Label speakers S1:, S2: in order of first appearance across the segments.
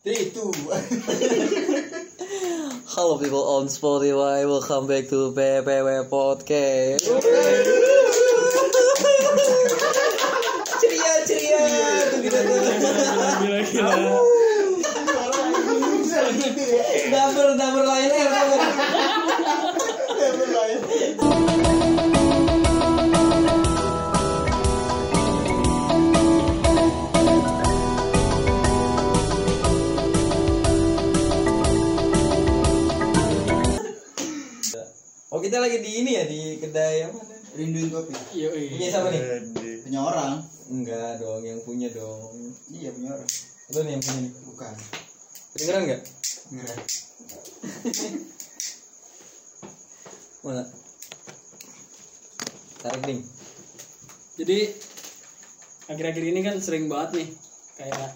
S1: Three, two.
S2: Hello people on Spotify, welcome back to PPW Podcast. ceria, ceria.
S3: Gila-gila.
S2: Dapur, dapur lain air. Oh kita lagi di ini ya di kedai apa?
S1: Rinduin kopi.
S3: Iya,
S2: Punya
S3: iya.
S2: siapa nih?
S1: Punya orang.
S2: Enggak dong, yang punya dong.
S1: Iya punya orang.
S2: Itu nih yang punya nih.
S1: Bukan.
S2: Kedengeran nggak?
S1: Ngeran.
S2: Mana? Tarik ding.
S3: Jadi akhir-akhir ini kan sering banget nih kayak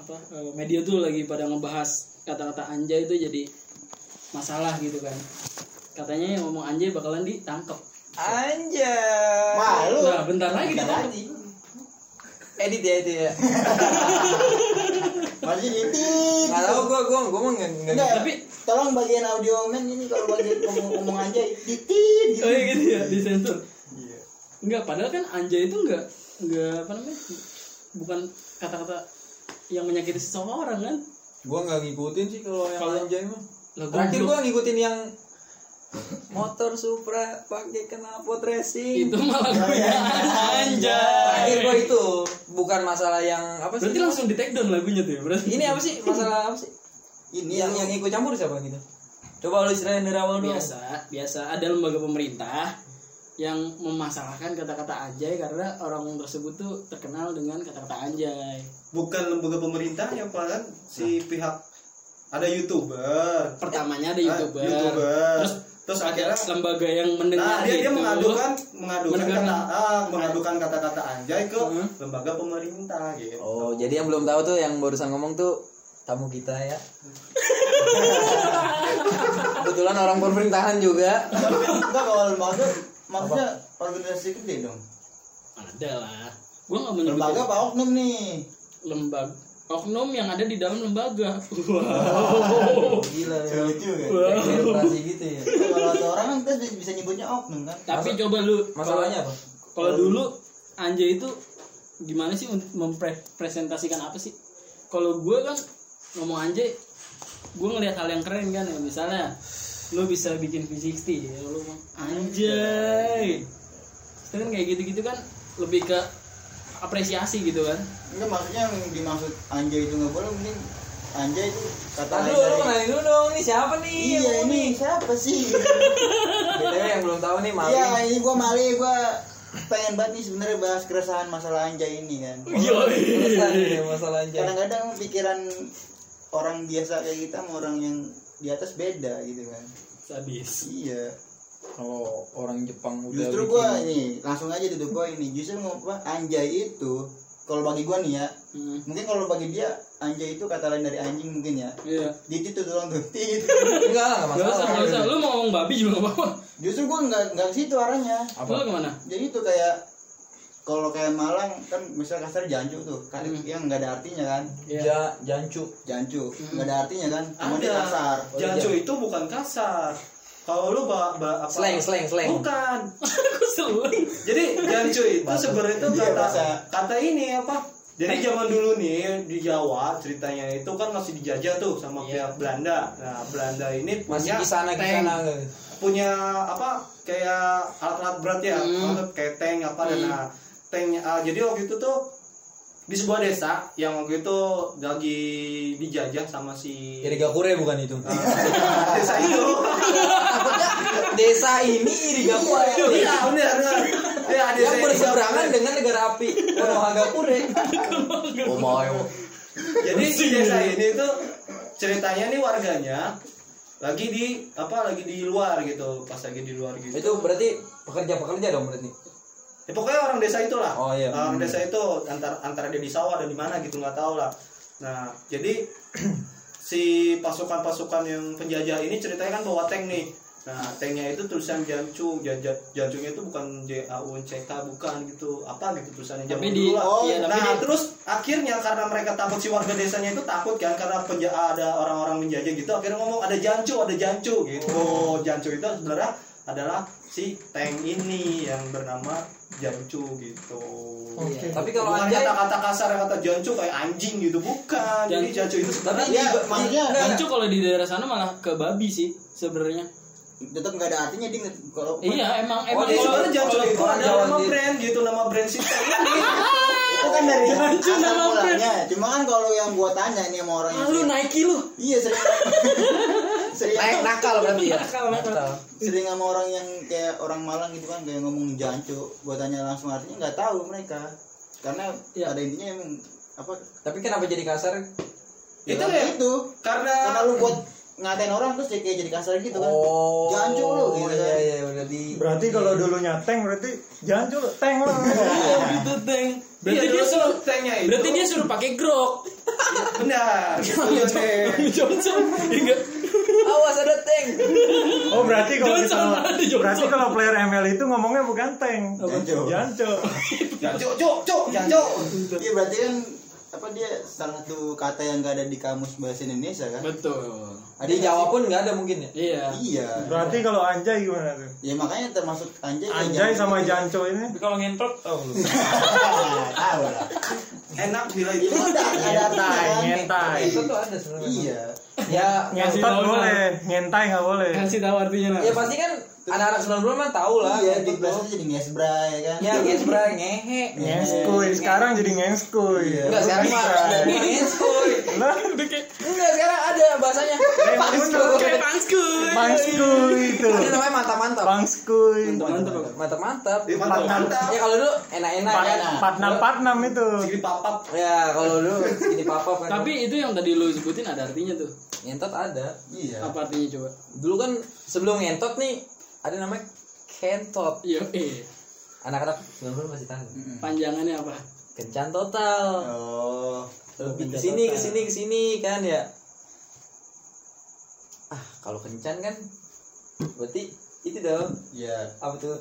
S3: apa eh, media tuh lagi pada ngebahas kata-kata anjay itu jadi masalah gitu kan. Katanya yang ngomong anjay bakalan ditangkep.
S2: Anjay.
S1: Malu.
S3: Nah, bentar lagi ditangkep.
S1: lagi.
S2: Edit ya, edit ya.
S1: Masih edit.
S2: Nggak tahu gua gua gua mah nggak nggak.
S1: Enggak,
S3: Tapi-
S1: tolong bagian audio men ini kalau bagian ngomong, ngomong aja titit gitu.
S3: Oh iya gitu ya, disensor.
S1: Iya.
S3: Enggak, padahal kan anjay itu enggak enggak apa namanya? Bukan kata-kata yang menyakiti seseorang kan.
S2: Gua nggak ngikutin sih kalau yang
S3: Kalau-
S2: anjay mah.
S3: Lah,
S2: Terakhir
S3: goblok.
S2: gua ngikutin yang motor Supra pakai knalpot racing.
S3: itu malah gue yang anjay.
S2: Terakhir
S3: Iya.
S2: gua itu bukan masalah yang apa sih?
S3: Berarti langsung di take down lagunya tuh ya, berarti.
S2: Ini apa sih? Masalah apa sih?
S1: Ini
S2: Yang yang ikut campur siapa gitu? Coba lu ceritain dari awal dulu.
S3: biasa biasa ada lembaga pemerintah yang memasalahkan kata-kata anjay karena orang tersebut tuh terkenal dengan kata-kata anjay
S4: bukan lembaga pemerintah yang paling
S3: Nah.
S4: si pihak ada youtuber
S3: pertamanya ada
S4: Ah,
S3: youtuber,
S4: YouTuber.
S3: terus
S4: terus akhirnya
S3: lembaga yang mendengar gitu.
S4: nah dia, dia
S3: itu
S4: mengadukan mengadukan
S3: Mendengar- Nah.
S4: kata ah, mengadukan kata-kata anjay ke
S3: Hmm.
S4: lembaga pemerintah gitu
S2: Oh, jadi yang belum tahu tuh yang barusan ngomong tuh tamu kita ya. Kebetulan orang pemerintahan juga.
S1: Enggak kalau lembaga maksudnya organisasi gede dong.
S3: ada lah gue nggak menyebut
S1: Lembaga Pak Oknum nih.
S3: lembaga oknum yang ada di dalam lembaga wow
S1: Gila ya. juga.
S2: Kayak birokrasi gitu ya.
S1: Kalau ada orang kan kita bi- bisa nyebutnya oknum kan.
S3: tapi coba lu
S2: Masalahnya apa?
S3: kalau- kalau dulu anjay itu gimana sih untuk mempresentasikan apa sih kalau gue kan ngomong anjay gue ngelihat hal yang keren kan ya misalnya lo bisa bikin V60 ya lo ngomong, anjay itu kan kayak gitu-gitu kan lebih ke apresiasi gitu kan
S1: Enggak maksudnya yang dimaksud anjay itu nggak boleh mending anjay itu kata lain
S2: Tadi lu lu
S1: dari-
S2: kenalin dulu dong, ini siapa nih?
S1: Iya ini siapa sih?
S2: BTW yang belum tahu nih malu.
S1: Iya ini gua mali gua pengen banget nih sebenarnya bahas keresahan masalah anjay ini kan.
S3: Iya.
S2: Urusan ya masalah
S1: Iya.
S2: anjay.
S1: Kadang-kadang pikiran orang biasa kayak kita sama orang yang di atas beda gitu kan.
S3: sadis
S1: Iya.
S2: Kalau orang Jepang udah
S1: Justru gua ya. ini langsung aja tutup poin nih. Justru ngomong apa, anjay itu kalau bagi gua nih ya,
S3: Hmm.
S1: mungkin kalau bagi dia anjay itu kata lain dari anjing mungkin ya.
S3: Iya.
S1: Diti tuh tolong tuh. Dit.
S2: enggak lah, enggak
S3: Gak usah,
S2: masalah.
S3: gak usah. Lu mau ngomong babi juga gak apa-apa.
S1: Justru gua nggak nggak ke situ arahnya.
S2: Apa?
S3: Lu kemana?
S1: jadi itu kayak kalau kayak Malang kan misal kasar jancu tuh kan yang nggak ada artinya kan
S3: Iya.
S2: Ja, jancu.
S1: jancu nggak ada artinya kan cuma
S4: Ada.
S1: dia kasar
S3: Oh,
S1: Oh, iya.
S3: iya.
S4: jancu itu bukan kasar kalau lu ba, ba- apa
S2: Slang, slang, slang.
S4: bukan
S3: Aku selalu.
S4: Jadi jancu itu sebenarnya itu
S1: Iya, bahasa.
S4: kata kata ini apa? Jadi zaman dulu nih di Jawa ceritanya itu kan masih dijajah tuh sama
S3: Iya.
S4: pihak Belanda. Nah Belanda ini
S2: Masih
S4: punya
S2: di sana di
S4: tank.
S2: sana.
S4: punya apa kayak alat-alat berat ya,
S3: Hmm.
S4: alat kayak tank apa dan
S3: Hmm.
S4: nah tanknya. ah, jadi waktu itu tuh di sebuah desa yang waktu itu lagi dijajah sama si
S2: Irigakure Ya, bukan itu.
S4: Ah, desa itu.
S2: Desa ini Irigakure.
S4: Iya benar benar. Ya desa
S2: yang
S4: itu.
S2: berseberangan dengan negara api Konohagakure oh mau
S4: Jadi si desa ini tuh ceritanya nih warganya lagi di apa lagi di luar gitu pas lagi di luar gitu.
S2: itu berarti pekerja-pekerja dong berarti
S4: Ya, pokoknya orang desa itulah.
S2: Oh, iya.
S4: Orang desa itu antara antara dia di sawah dan di mana gitu nggak tahu lah. Nah jadi si pasukan-pasukan yang penjajah ini ceritanya kan bawa tank nih. Nah, tanknya itu tulisan Jancung, Jan- Jan- Jancungnya itu bukan J A U N C K bukan gitu. Apa gitu tulisannya
S3: Tapi
S4: zaman
S3: di-
S4: dulu lah.
S3: oh, iya, tapi
S4: nah,
S3: di-
S4: terus akhirnya karena mereka takut si warga desanya itu takut kan karena penja- ada orang-orang menjajah gitu, akhirnya ngomong ada Jancu, ada Jancu gitu. Jancu itu sebenarnya adalah si tank ini yang bernama Jancu gitu.
S5: Oke.
S2: Tapi kalau
S4: Bukan
S2: anjay
S4: kata-kata kasar yang kata Jancu kayak anjing gitu, bukan. Jadi Jancu itu sebenarnya
S2: Tapi
S1: Iya,
S2: di-
S1: maksudnya
S2: di-
S3: Jancu kalau di daerah sana malah ke babi sih sebenarnya.
S1: tetap nggak ada artinya ding kalau
S3: Iya, emang emang
S2: dia
S3: kalau-
S4: Jadi Oh, sebenarnya Jancu
S2: kalau-
S4: itu
S2: kalau
S4: ada
S2: Jawa
S4: nama
S2: di-
S4: brand gitu, nama brand si tank ini.
S1: itu kan dari
S3: Jancu
S1: asal
S3: nama brand.
S1: mulanya cuma kan kalau yang gua tanya nih sama orang yang
S3: Ah, lu
S1: sering-
S3: Nike lu.
S1: iya sering sering
S5: Naik nakal berarti ya.
S3: Nakal, nakal.
S1: sering sama orang yang kayak orang Malang gitu kan kayak ngomong jancu gua tanya langsung artinya nggak tahu mereka karena
S3: Iya.
S1: ada intinya emang apa
S2: Tapi kenapa jadi kasar?
S1: ya
S4: Itu
S1: kan
S4: ya,
S1: gitu
S4: karena iya,
S1: karena lu buat ngatain orang terus jadi kayak jadi kasar gitu kan jancu lu gitu
S2: Oh, Iya
S1: kan
S2: iya udah di
S5: Berarti kalau dulunya tank berarti jancul tank lah.
S3: Iya, gitu, Teng. Berarti
S4: Iya,
S3: dia
S4: dulu
S3: suruh eh,
S4: tuh tanknya itu
S3: Berarti dia suruh pakai grok.
S4: benar. Gitu, Dek.
S3: Johnson. Iya nggak?
S2: Awas ada tank.
S5: Oh berarti kalau
S3: Johnson,
S5: kita
S3: ada Johnson.
S5: berarti kalau player ML itu ngomongnya bukan tank,
S1: Jancu.
S5: jancul.
S4: Ya, cok, cok, cok, ya, cok.
S1: iya berarti kan apa dia salah satu kata yang gak ada di kamus bahasa Indonesia kan
S3: Betul.
S1: ada
S2: Di Jawa pun nggak ada mungkin ya.
S3: Iya.
S1: iya
S5: Berarti kalau anjay gimana tuh?
S1: ya makanya termasuk anjay dan
S5: Anjay
S1: jancu
S5: sama
S1: gitu.
S5: jancu ini.
S6: kalau ngentot
S5: Oh, lu.
S1: Ah, tahu lah
S4: Enak bila
S1: itu
S4: itu.
S1: udah ada tanya
S5: ngentai.
S2: Itu tuh ada sebenarnya.
S1: Nah, iya
S2: Ya
S3: Ngasih
S5: Ngentot
S3: tahu,
S5: boleh, ngentai nggak boleh.
S3: Kasih tahu artinya nah.
S2: ya pasti kan anak-anak 90 mah tahu lah.
S1: iya di
S2: ngentot
S1: bahasa
S2: tuh.
S1: jadi ngesbra ya kan
S2: Ya gesbra ngehe.
S5: Iya. Ngeskuy, sekarang jadi
S3: Iya.
S5: ngeskuy.
S2: Enggak sekarang mah
S5: Ngeskuy.
S2: bukan ngeskuy.
S5: Lah,
S2: Enggak sekarang ada bahasanya.
S5: Iya,
S3: Kayak pangskuy.
S5: pangskuy itu.
S2: Ada namanya mantap mantap.
S5: Pangskuy.
S3: Mantap.
S2: Mantap mantap.
S4: Ih, Mantap, mantap.
S2: Ya kalau dulu enak-enak
S5: Pat-
S2: ya.
S5: Patnam patnam itu.
S4: Segini papap.
S2: Ya kalau dulu ini papa kan.
S3: Tapi itu yang tadi lu sebutin ada artinya tuh.
S2: ngentot ada.
S1: iya
S3: Apa artinya coba?
S2: Dulu kan sebelum ngentot nih ada namanya kentot.
S3: Iya, eh.
S2: Anak-anak 90 masih tahu.
S3: Panjangannya apa?
S2: Kencan total.
S1: oh
S2: lebih ke sini ke sini ke sini kan ya ah kalau kencan kan berarti itu dong
S1: iya
S2: apa tuh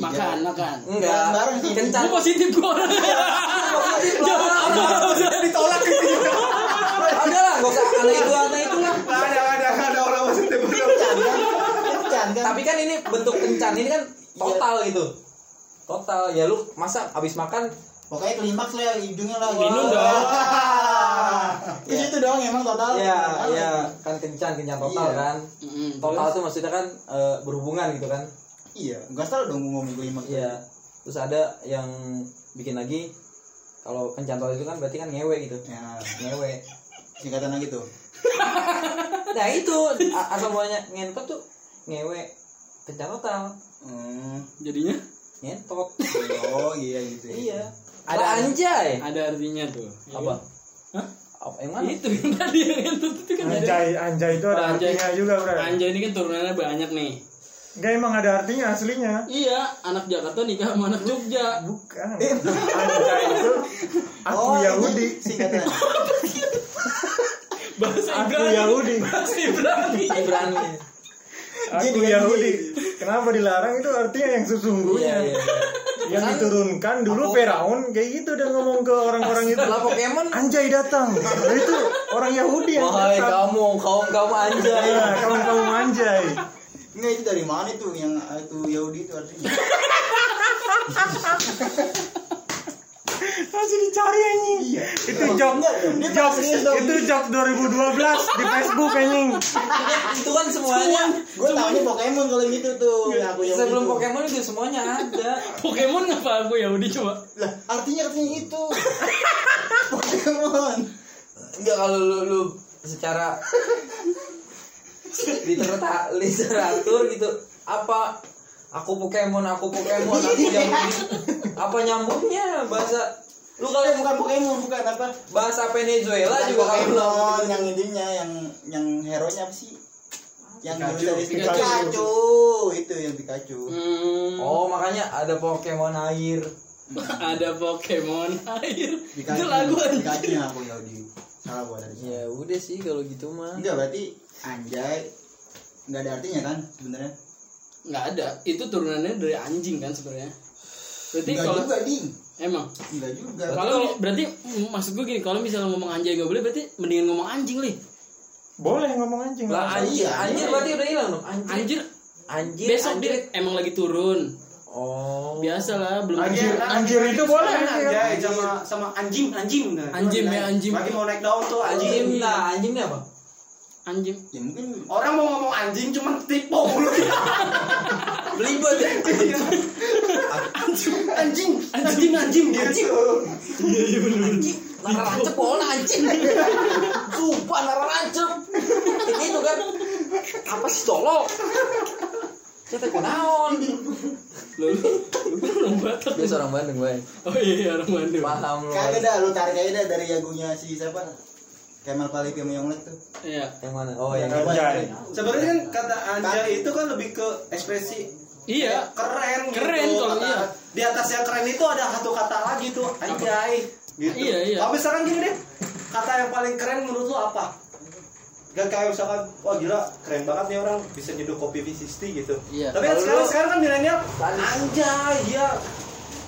S3: Makan, makan.
S2: enggak
S1: Bareng-bareng sih.
S2: kencan
S3: Lu positif gua.
S4: Ditolak gitu.
S2: ada lah gak usah ada itu ada itu lah
S4: Nggak ada, nggak ada, nggak ada orang masuk timur.
S1: Kencan kan
S2: tapi kan ini bentuk kencan ini kan total gitu total ya lu masa abis makan
S1: pokoknya klimaks lah hidungnya lah
S3: Minum dong.
S1: di situ dong emang total
S2: ya ya kan kencan kencan total
S1: Iya.
S2: kan
S3: Mm-mm.
S2: total tuh maksudnya kan eh, berhubungan gitu kan
S1: iya nggak salah dong gua ngomong klimaks
S2: Iya. Terus ada yang bikin lagi kalau kencantol itu kan berarti kan ngewe gitu.
S1: ya
S2: Ngewe.
S1: singkatan lagi tuh
S2: Nah itu a- asal mulanya ngentot tuh ngewe kencantotal
S1: Hmm,
S3: Jadinya
S2: ngentot.
S1: oh iya gitu ya.
S2: iya. Ada anjay.
S3: ada Iya. artinya tuh. Iya.
S2: Apa?
S3: Hah?
S2: Apa yang mana?
S3: Itu yang tadi yang itu itu kan ada.
S5: Anjay, anjay itu ada
S3: Anjay.
S5: artinya juga, Bro.
S3: Anjay ini kan turunannya banyak nih.
S5: Enggak emang ada artinya aslinya.
S3: Iya, anak Jakarta nikah sama anak Jogja.
S5: Bukan. Anjay Eh, itu aku
S1: oh
S5: Yahudi.
S1: ini singkatan
S3: Bahasa
S5: Aku
S3: Ibrani.
S5: Yahudi.
S3: Bahasa Ibrani.
S2: Ibrani.
S5: Aku Yahudi. Kenapa dilarang itu artinya yang
S2: Iya,
S5: sesungguhnya.
S2: iya, iya.
S5: Yang diturunkan dulu Firaun kayak gitu dan ngomong ke orang-orang itu.
S2: Lah Pokemon
S5: Anjay datang. Nah, itu orang Yahudi yang
S2: Wahai
S5: datang.
S2: kamu, kaum kamu anjay.
S5: Ya, kaum-kaum anjay.
S1: nggak itu dari mana itu yang itu Yahudi itu artinya
S5: Masih dicari anjing. Itu job
S1: Enggak, dia
S5: job
S1: serius dong.
S5: itu job 2012 di Facebook anjing.
S2: itu kan semuanya
S1: gue tahunya Pokemon kalau gitu tuh yang aku Yahudi
S2: sebelum
S1: tuh.
S2: Pokemon itu semuanya ada.
S3: Pokemon apa aku Yahudi coba?
S1: lah artinya artinya itu Pokemon
S2: Enggak kalau lu, lu secara literata, literatur gitu apa aku Pokemon aku Pokemon aku yang apa nyambungnya bahasa lu
S1: Eh,
S2: kalau
S1: bukan Pokemon bukan apa
S2: bahasa Venezuela
S1: Bukan
S2: juga kan belum
S1: Pokemon yang intinya yang yang hero nya apa sih yang
S4: Pikachu.
S1: dulu dari
S3: Pikachu.
S1: Pikachu itu yang Pikachu
S3: Hmm,
S2: oh makanya ada Pokemon air
S3: ada Pokemon air.
S1: Pikachu
S3: Itu lagu Iya.
S1: Pikachu yang aku Yahudi salah gua tadi Iya,
S2: ya udah sih kalau gitu mah
S1: enggak berarti anjay nggak ada artinya kan sebenarnya
S3: nggak ada itu turunannya dari anjing kan sebenarnya berarti
S1: nggak
S3: kalau
S1: juga ding
S3: emang
S1: nggak juga
S3: kalau berarti mm, maksud gue gini kalau misalnya ngomong anjay nggak boleh berarti mendingan ngomong anjing lih
S5: Boleh ngomong anjing.
S2: Lah anjir,
S1: Iya,
S2: anjir
S1: iya.
S2: berarti udah hilang dong. Anjir.
S3: anjir
S2: Anjir.
S3: besok
S2: anjir.
S3: dia emang lagi turun
S2: Oh.
S3: biasa lah belum
S5: Anjir, anjir itu boleh. anjing.
S4: Anjay sama sama anjing, anjing. Nah,
S3: Anjing,
S4: gimana?
S3: ya, anjing.
S4: Lagi mau naik daun tuh anjing.
S2: Anjing lah, Nah, anjingnya apa?
S3: anjing
S1: ya mungkin
S4: Orang mau ngomong anjing cuman tipu mulu.
S2: Belibet ya.
S4: anjing, anjing, anjing gitu.
S2: Narancep pohon oh, nah, anjing. Sumpah narancep. Ini itu kan apa sih tolol? Cetek naon?
S3: lu lu lu orang batak
S2: Dia seorang Bandung, gue.
S3: oh iya iya, orang Bandung
S2: Paham lu.
S1: kagak dah lu tarik aja dah dari lagunya si siapa Kemal Palevi sama Yonglek tuh
S3: iya
S2: Yang mana? Oh, yang
S1: Apa ya?
S5: Anjay.
S4: Sebenarnya kan kata anjay itu kan lebih ke ekspresi
S3: iya
S4: keren gitu.
S3: Keren kalau
S4: Kata-
S3: iya.
S4: Di atas yang keren itu ada satu kata lagi tuh, anjay. Gitu.
S3: Iya, iya.
S4: Kalau misalkan gini deh, kata yang paling keren menurut lu apa? Gak kayak misalkan, wah gila keren banget nih orang bisa nyeduh kopi V60 gitu.
S3: Iya.
S4: Tapi kan
S2: Kalau
S4: sekarang
S2: lu-
S4: sekarang kan milenial
S2: Tanis.
S4: anjay ya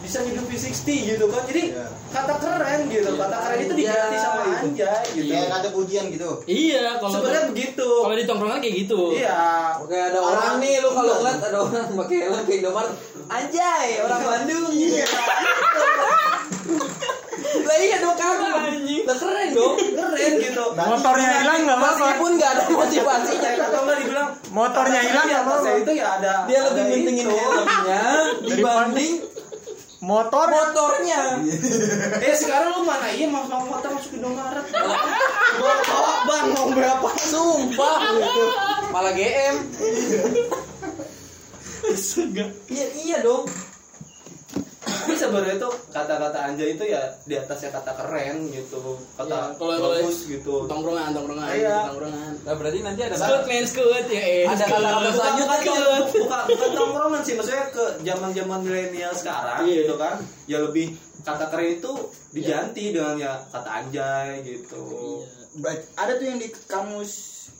S4: bisa nyeduh V60 gitu kan. Jadi
S1: Iya.
S4: kata keren gitu,
S3: Iya.
S4: kata keren itu
S2: Anjay.
S4: diganti sama
S2: Iya.
S4: anjay gitu.
S1: kayak ada pujian gitu
S3: iya kan. kalau
S4: Sebenarnya begitu.
S3: kalau di tongkrongan kayak gitu
S4: Iya.
S2: Oke ada orang nih lu kalau ngeliat ada orang pakai helm ke Indomaret Anjay orang Bandung Iya Lah iya dong kagak
S3: Anjing.
S2: Lah keren dong
S4: Keren gitu.
S5: Motornya hilang nggak apa-apa.
S2: Meskipun gak ada motivasinya
S4: Atau enggak dibilang
S5: Motornya hilang
S4: di
S5: nggak apa-apa.
S4: atasnya itu ya ada
S2: Dia
S4: ada
S2: lebih pentingin
S4: itu.
S2: helmnya Dibanding
S5: Motor
S2: motornya
S4: Eh sekarang lu mana? Iya mau mau motor masuk ke Indomaret. Gua bawa ban mau berapa?
S2: Sumpah Malah GM Iya iya dong
S4: Tapi sebenarnya tuh kata-kata anjay itu ya di atasnya kata keren gitu. Kata
S3: Iya, kalau- kalau-
S4: bagus gitu.
S3: tongkrongan tongkrongan
S4: Iya.
S3: tongkrongan
S2: Nah berarti nanti ada
S3: skut men skut ya eh
S2: Ada
S3: skut.
S2: kata-kata
S4: Bukan-
S2: selanjutnya
S4: bukan- gitu.
S2: Cil.
S4: bukan bukan tongkrongan sih maksudnya ke zaman-zaman milenial sekarang
S3: Iya.
S4: gitu kan. Ya lebih kata keren itu diganti dengan ya kata anjay gitu.
S1: Ba- ada tuh yang di kamus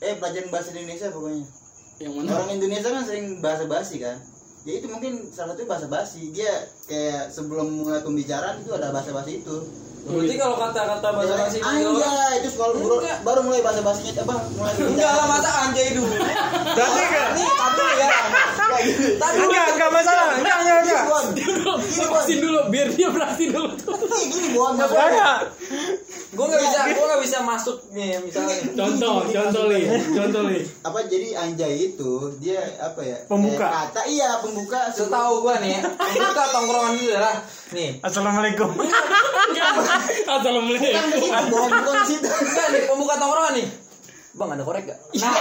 S1: eh pelajaran bahasa Indonesia pokoknya
S3: yang mana
S1: orang Indonesia kan sering bahasa basi kan ya itu mungkin salah satu bahasa basi dia kayak sebelum mulai pembicaraan itu ada bahasa basi itu
S2: Berarti kalau kata-kata bahasa
S1: Anjay,
S2: basi
S1: anjay itu sekolah baru,
S2: Enggak.
S1: baru mulai bahasa basinya apa mulai
S2: Enggak lah masa anjay dulu
S5: Berarti nggak-
S2: Ini tadi ya
S1: Enggak, gitu.
S2: Tadi
S5: enggak enggak masalah. Enggak enggak enggak.
S1: Bon.
S3: Dia vaksin dulu biar dia vaksin dulu
S1: Ini gini bon
S5: Enggak.
S2: gue nggak bisa gue nggak bisa masuk nih misalnya
S3: contoh contoh li contoh li
S1: apa jadi anjay itu dia apa ya
S5: Pembuka.
S1: kayak kata iya pembuka
S2: setahu gue nih ya, kita tongkrongan itu adalah nih
S5: Assalamualaikum.
S3: Ah,
S1: bukan
S3: assalamualaikum
S1: di situ bon bukan di situ
S2: enggak nih pembuka tongkrongan nih bang ada korek gak nah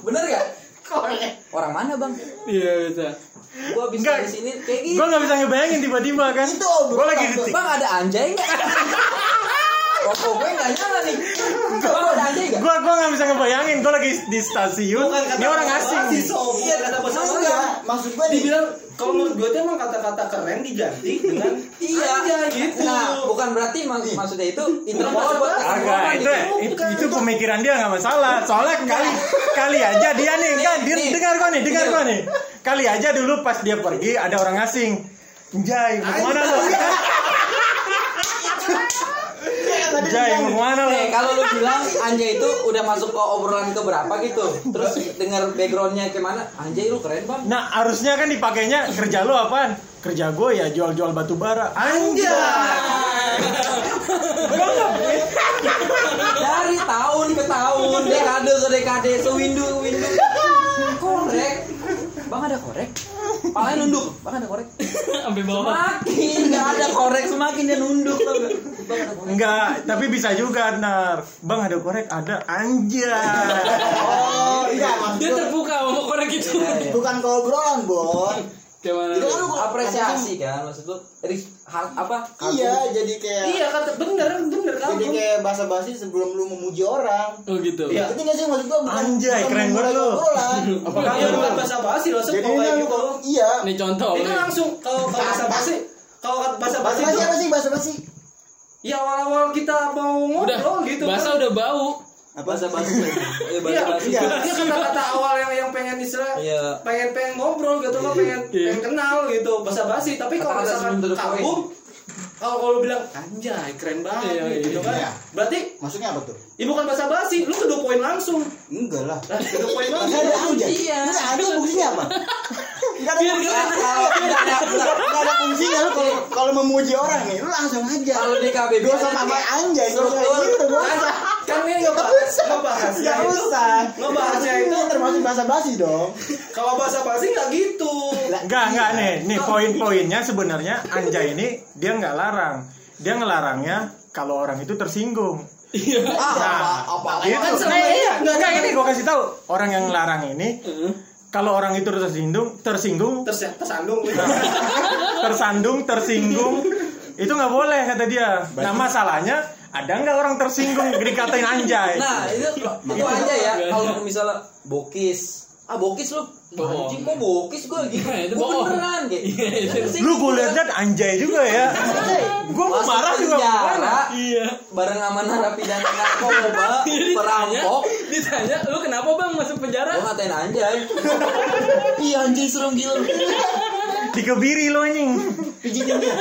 S2: bener gak korek orang mana bang
S3: iya bisa
S2: gue bisa
S5: Enggak.
S2: di sini kayak gini
S5: Gue nggak bisa ngebayangin tiba-tiba kan.
S1: Itu obrolan.
S5: Gue lagi detik.
S2: bang ada anjay nggak rokok gue nggak nyala nih bang ada anjay nggak
S5: Gue gue nggak bisa ngebayangin. Gue lagi di stasiun.
S4: Bukan kata
S5: Ini orang
S4: bahasa
S5: asing.
S4: basi, sob.
S2: Iya,
S4: Bukan kata bahasa
S2: enggak.
S4: basi.
S1: Enggak, maksud gue nih
S4: dibilang kalau menurut gue tuh emang kata-kata keren diganti dengan
S2: Iya.
S4: anjay gitu
S2: nah bukan berarti mak- maksudnya itu interval buat gitu.
S4: bahasa
S5: Agak
S2: tongkrongan
S5: itu, ya. itu itu pemikiran dia nggak masalah. Soalnya kali kali aja dia nih kan dia
S2: Nih.
S5: dengar gua nih, dengar
S2: Nih.
S5: gua nih. Kali aja dulu pas dia pergi ada orang asing. Jai, mau kemana lo? Jai, mau kemana lo?
S2: Nih, kalau lu bilang anjay itu udah masuk ke obrolan keberapa gitu terus dengar backgroundnya gimana anjay lu keren bang
S5: Nah, harusnya kan dipakainya kerja lo apaan? Kerja gue ya jual-jual batu bara. Anjay. Gua nggak-
S2: dari tahun ke tahun dekade ke dekade sewindu windu korek bang ada korek palanya nunduk bang ada korek
S3: sampai bawah
S2: semakin nggak ada korek semakin dia nunduk tau nggak? bang ada korek
S5: Enggak, tapi bisa juga, Nar. Bang ada korek, ada anjay.
S1: oh iya maksud
S3: dia
S1: gua
S3: terbuka mau korek itu
S2: Iya, iya.
S1: bukan ke obrolan bon
S3: gimana
S1: Itu kan lu-
S2: apresiasi kan maksud lu Jadi, har- apa
S1: iya jadi kayak
S4: iya kata bener bener kan
S1: jadi kayak bahasa basi sebelum lu memuji orang
S3: oh gitu
S4: Iya.
S1: Ngerti nggak sih maksud gua bukan
S5: Anjay,
S1: bukan
S5: keren
S1: memulai
S5: banget lu.
S1: obrolan.
S5: Apa
S4: iya
S5: kabar?
S4: bukan bahasa basi loh sob,
S1: jadi
S4: kalau
S1: ini
S4: kayak
S1: lu
S4: gitu
S1: kalau- iya
S3: ini contoh
S4: itu
S3: Li.
S4: langsung kalau kalau bahasa basi kalau kata bahasa
S1: bahasa
S4: basi
S1: basi
S4: itu
S1: apa sih bahasa basi
S4: ya awal-awal kita mau
S3: udah
S4: ngobrol gitu
S3: bahasa
S4: kan
S3: udah bau
S1: Apa?
S2: bahasa basi ya bahasa
S4: Iya,
S2: basi
S4: iya. Dia kata-kata awal yang yang pengen istilah
S2: Iya.
S4: pengen pengen ngobrol gitu loh, pengen pengen kenal gitu, basa-basi. Tapi kalau
S2: Kata-kata sebelum to
S4: misalkan
S2: the point.
S4: kagum, kalau kalau lu bilang anjay keren banget
S3: Iya,
S4: nih," gitu kan.
S1: iya.
S4: Berarti
S1: Maksudnya apa tuh?
S4: ibu bukan basa-basi, lu kedua poin langsung.
S1: Enggak lah.
S4: Nah, kedua poin
S1: Enggak
S4: langsung.
S1: ada anjay.
S2: Iya.
S1: Enggak ada fungsinya apa? Enggak ada fungsinya.
S2: kalau
S1: Enggak ada, enggak- enggak ada fungsinya lu kalau kalau memuji orang nih, lu langsung aja.
S2: kalau di KBB
S1: Dosa sama anjay, dosa gitu dosa.
S4: Kan ini nggak
S1: Nggak
S4: bahas,
S1: usah.
S4: nggak bahas.
S1: Enggak usah.
S4: Ngebahasnya itu
S1: itu termasuk bahasa basi dong.
S4: kalau basa-basi nggak gitu.
S5: Enggak, enggak nih. Nih poin-poinnya sebenarnya Anjay ini dia nggak larang. Dia ngelarangnya kalau orang itu tersinggung.
S3: Iya,
S1: Ah,
S5: Nah,
S1: apa apa
S5: Itu.
S4: kan selama
S5: Nah,
S4: ini-
S5: iya,
S4: nggak,
S5: enggak,
S4: nggak.
S5: ini gua kasih tahu. Orang yang larang ini kalau orang itu tersinggung, tersinggung,
S4: Terus ya, tersandung.
S5: tersandung, tersinggung, itu nggak boleh kata dia. Nah, masalahnya ada nggak orang tersinggung dikatain anjay?
S2: nah itu itu aja ya kalau misalnya bokis ah bokis lu
S3: Bohong.
S2: anjing kok bokis gue gitu
S3: Nah, itu
S2: gue
S3: bohong.
S2: beneran gitu
S3: Iya, itu.
S5: Lu gue lihat lihat anjay juga ya. Gue mau
S2: Masuk
S5: marah juga mau
S2: penjara.
S5: marah.
S3: Iya.
S2: bareng sama narapidana narkoba perampok
S3: ditanya lu kenapa bang masuk penjara
S2: gue ngatain anjay iya anjay serem gila lu.
S5: Dikebiri lo anjing.
S1: pijitin dia.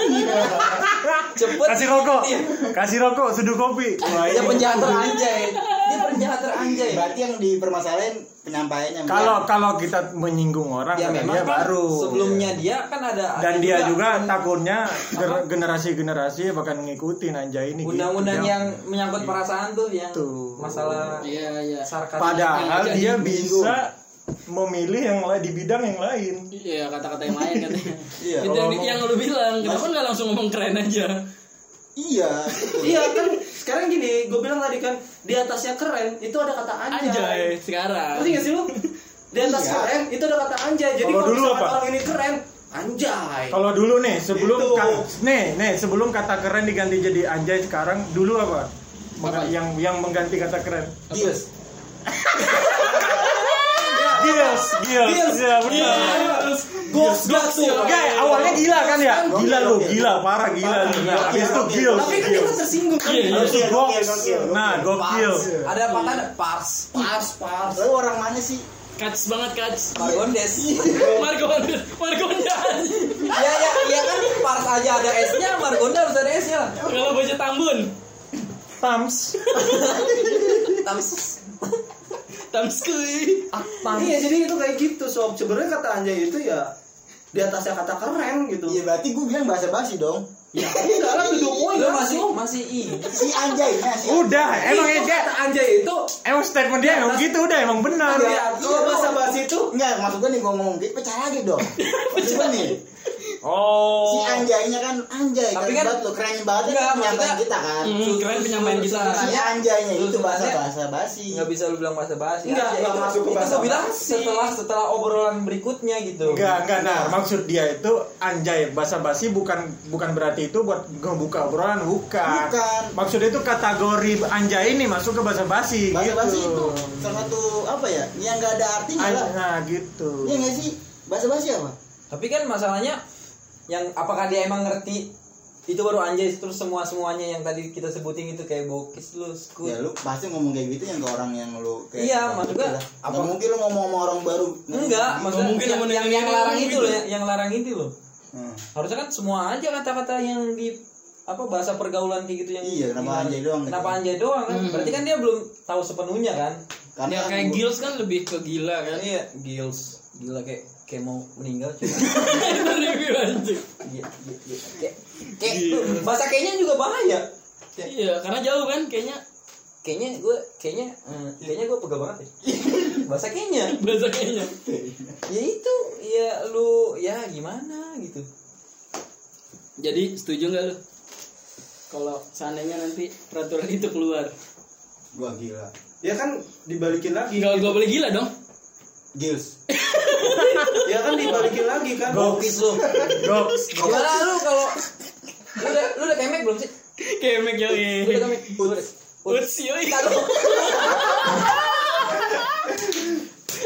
S2: cepet
S5: Kasih rokok.
S2: Iya.
S5: Kasih rokok, seduh kopi. Iya. Wah,
S2: dia
S5: ini-
S2: penjahat anjay dia penjahat anjay
S1: Berarti yang dipermasalahin penyampaiannya.
S5: Kalau kalau kita menyinggung orang
S2: ya
S5: kata
S2: memang kan
S5: dia iya, baru.
S2: sebelumnya dia kan ada
S5: dan
S2: ada
S5: dia juga takutnya ger- generasi-generasi bakal ngikutin anjay ini. gitu.
S2: undang-undang
S5: Dia-
S2: yang menyangkut perasaan tuh yang
S5: Tuh.
S2: masalah
S3: iya iya
S2: sarkas
S5: Padahal
S3: Anjay
S5: dia
S3: bingung.
S5: bisa memilih yang lain di bidang yang lain.
S3: Iya kata-kata yang lain katanya.
S1: Iya,
S3: itu yang, yang lu bilang kenapa nggak langsung ngomong keren aja?
S1: Iya. gitu.
S4: Iya kan sekarang gini, gue bilang tadi kan di atasnya keren itu ada kata anjay.
S3: Anjay sekarang.
S4: Ngerti gak sih lu? Di atas
S1: Iya.
S4: keren itu ada kata anjay. Jadi
S5: Kalau
S4: kalau
S5: dulu
S4: misalkan
S5: apa?
S4: orang ini keren, anjay.
S5: Kalau dulu nih sebelum
S4: Gitu.
S5: kata, nih nih sebelum kata keren diganti jadi anjay sekarang dulu apa? Mengga-
S3: Apa?
S5: Yang yang mengganti kata keren.
S2: Gils
S5: Gils, gils,
S2: Gils.
S5: ya benar.
S4: Gosblak tuh.
S5: Guys, awalnya gila kan ya? Gila lu, gila parah gila lu.
S1: Parah.
S5: Nah, habis itu gils,
S4: Tapi kan kita
S5: gils.
S4: tersinggung kan.
S3: Iya,
S5: Habis itu
S1: Gokil,
S5: goks.
S1: gokil, gokil.
S5: Nah, gokil.
S1: Pas.
S2: ada apa kan pars
S4: Pas, pas.
S1: Lalu Eh, orang mana sih?
S3: Kats banget kats.
S2: Margondes Iya,
S3: Marco Marco
S2: ya ya ya kan pars aja ada S nya Margonda harus ada S nya lah
S3: Kalau bocah Tambun,
S5: Tams.
S2: Tams
S3: Tamskui.
S2: Ah,
S4: Iya, jadi itu kayak gitu sob. Sebenarnya kata anjay itu ya di atasnya kata keren gitu.
S1: Iya berarti gue bilang bahasa basi dong.
S4: Ya, enggak lah kedua poin
S2: lu masih
S4: langsung.
S2: masih i
S1: Si anjaynya si
S5: Udah, emang ya,
S4: Itu
S5: dia
S4: kata anjay itu
S5: emang statement dia emang gitu udah emang benar.
S2: Iya.
S4: ya, kalau bahasa basi itu
S1: Enggak, maksud gue nih gue ngomong gitu pecah lagi dong. Maksud gue nih, si
S5: Oh.
S1: anjaynya kan anjay, tapi
S2: Tapi
S1: kan
S2: kan-
S1: banget lo keren banget
S2: Enggak,
S1: kan penyampaian
S2: maksudnya-
S1: kita kan.
S3: Hmm, keren penyampaian kita.
S1: Si anjaynya itu
S2: Maksudnya-
S1: bahasa bahasa basi.
S2: nggak bisa lu bilang bahasa basi
S4: Nggak,
S2: Aja
S4: nggak
S2: itu.
S4: masuk ke
S2: Itu
S4: bahasa
S2: gua bilang
S4: basi.
S2: setelah setelah obrolan berikutnya gitu
S5: Enggak, enggak. Nah, maksud dia itu anjay basa-basi bukan bukan berarti itu buat ngebuka obrolan, bukan.
S1: Bukan.
S5: Maksudnya itu kategori anjay ini masuk ke basa-basi
S1: Bahasa
S5: gitu.
S1: basi itu salah satu apa ya? Yang enggak ada artinya
S5: An-
S1: lah.
S5: Nah, gitu.
S1: Iya nggak sih? Bahasa basi apa?
S2: tapi kan masalahnya yang apakah dia emang ngerti itu baru anjay terus semua semuanya yang tadi kita sebutin itu kayak bokis lu skut
S1: Ya lu pasti ngomong kayak gitu yang ke orang yang lu kayak
S2: Iya, maksud gua, apa-
S1: apa mungkin lu ngomong sama orang baru.
S2: enggak maksudnya
S3: mungkin
S2: yang,
S3: temen
S2: yang,
S3: yang
S2: yang
S3: ini
S2: larang
S3: ngomong
S2: itu
S3: gitu.
S2: loh yang- yang larang itu loh
S1: Hmm.
S2: harusnya kan semua aja kata-kata yang di apa bahasa pergaulan kayak gitu yang
S1: Iya, kenapa
S2: yang-
S1: anjay doang gitu.
S2: kenapa anjay doang kan
S3: Hmm.
S2: berarti kan dia belum tahu sepenuhnya kan
S1: Karena
S3: Ya kayak Gils kan lebih ke gila kan.
S2: iya gils gila kayak kayak mau meninggal cuy
S3: Itu review anjing.
S2: Iya, iya, iya. Kayak- kayak tuh, bahasa kayaknya juga bahaya
S3: Iya, karena jauh kan kayaknya
S2: kayaknya gue kayaknya eh, kayaknya gue pegel banget ya bahasa kayaknya
S3: bahasa kayaknya.
S2: ya itu ya lu ya gimana gitu
S3: Jadi setuju nggak lu? Kalau seandainya nanti peraturan itu keluar,
S1: gua gila.
S4: ya kan dibalikin lagi.
S3: nggak nggak boleh gila dong.
S1: Gils.
S4: Ya kan dibalikin lagi kan.
S2: bokis lu
S5: Goks.
S2: Gitu. gimana lu kalau lu udah lu udah kemek belum sih
S3: Kemek yang
S2: lu udah kemek Lu udah-
S3: Eh. Uts yoi.
S2: Enggak, lu.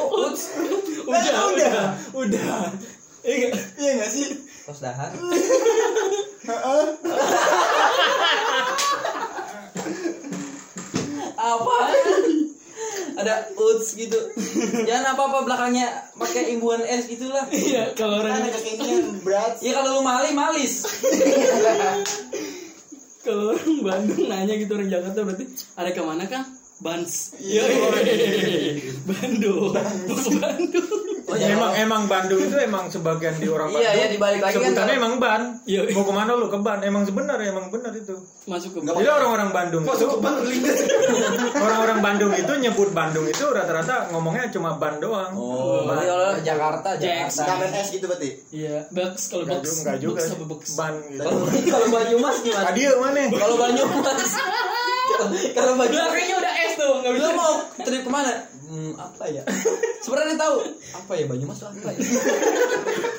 S2: Oh, uts.
S3: Udah, udah, udah. Eh, nggak.
S1: Iya nggak sih?
S2: Tos dahar. Apa? ada uts gitu jangan apa apa belakangnya pakai imbuhan es gitulah
S3: Iya, kalau orang
S1: Kan ada kekinian berat
S2: ya kalau lu mali malis
S3: kalau orang Bandung nanya gitu orang Jakarta berarti ada ke mana Kang? Bans. Iya. Bandung. Mau ke Bandung.
S5: emang emang Bandung itu emang sebagian di orang Bandung.
S2: iya iya dibalik lagi kan
S5: Sebutannya
S2: kalau-
S5: emang ban.
S3: Iya.
S5: Mau kemana lu ke ban? Emang sebenar emang benar itu.
S3: Masuk ke
S5: Jadi orang-orang Bandung itu
S4: Masuk ke bank lindes.
S5: orang-orang Bandung itu nyebut Bandung itu rata-rata ngomongnya cuma ban doang.
S2: Oh,
S5: Ban.
S2: kalau Jakarta,
S3: Jax.
S1: Ramen
S2: Jakarta.
S1: es gitu berarti
S3: Iya, box kalau
S5: Nggak
S3: box.
S5: juga, nggak juga
S3: box
S5: sih.
S3: apa box?
S5: Ban gitu.
S2: Kalau Banyumas gimana?
S5: Tadi mana?
S2: Kalau Banyumas. Kalau
S3: Udah
S2: Banyumas.
S3: kayaknya udah S tuh, enggak
S2: Lu
S3: bisa.
S2: mau trip kemana? Hmm, apa ya? Sebenarnya tahu apa ya Banyumas tuh apa ya?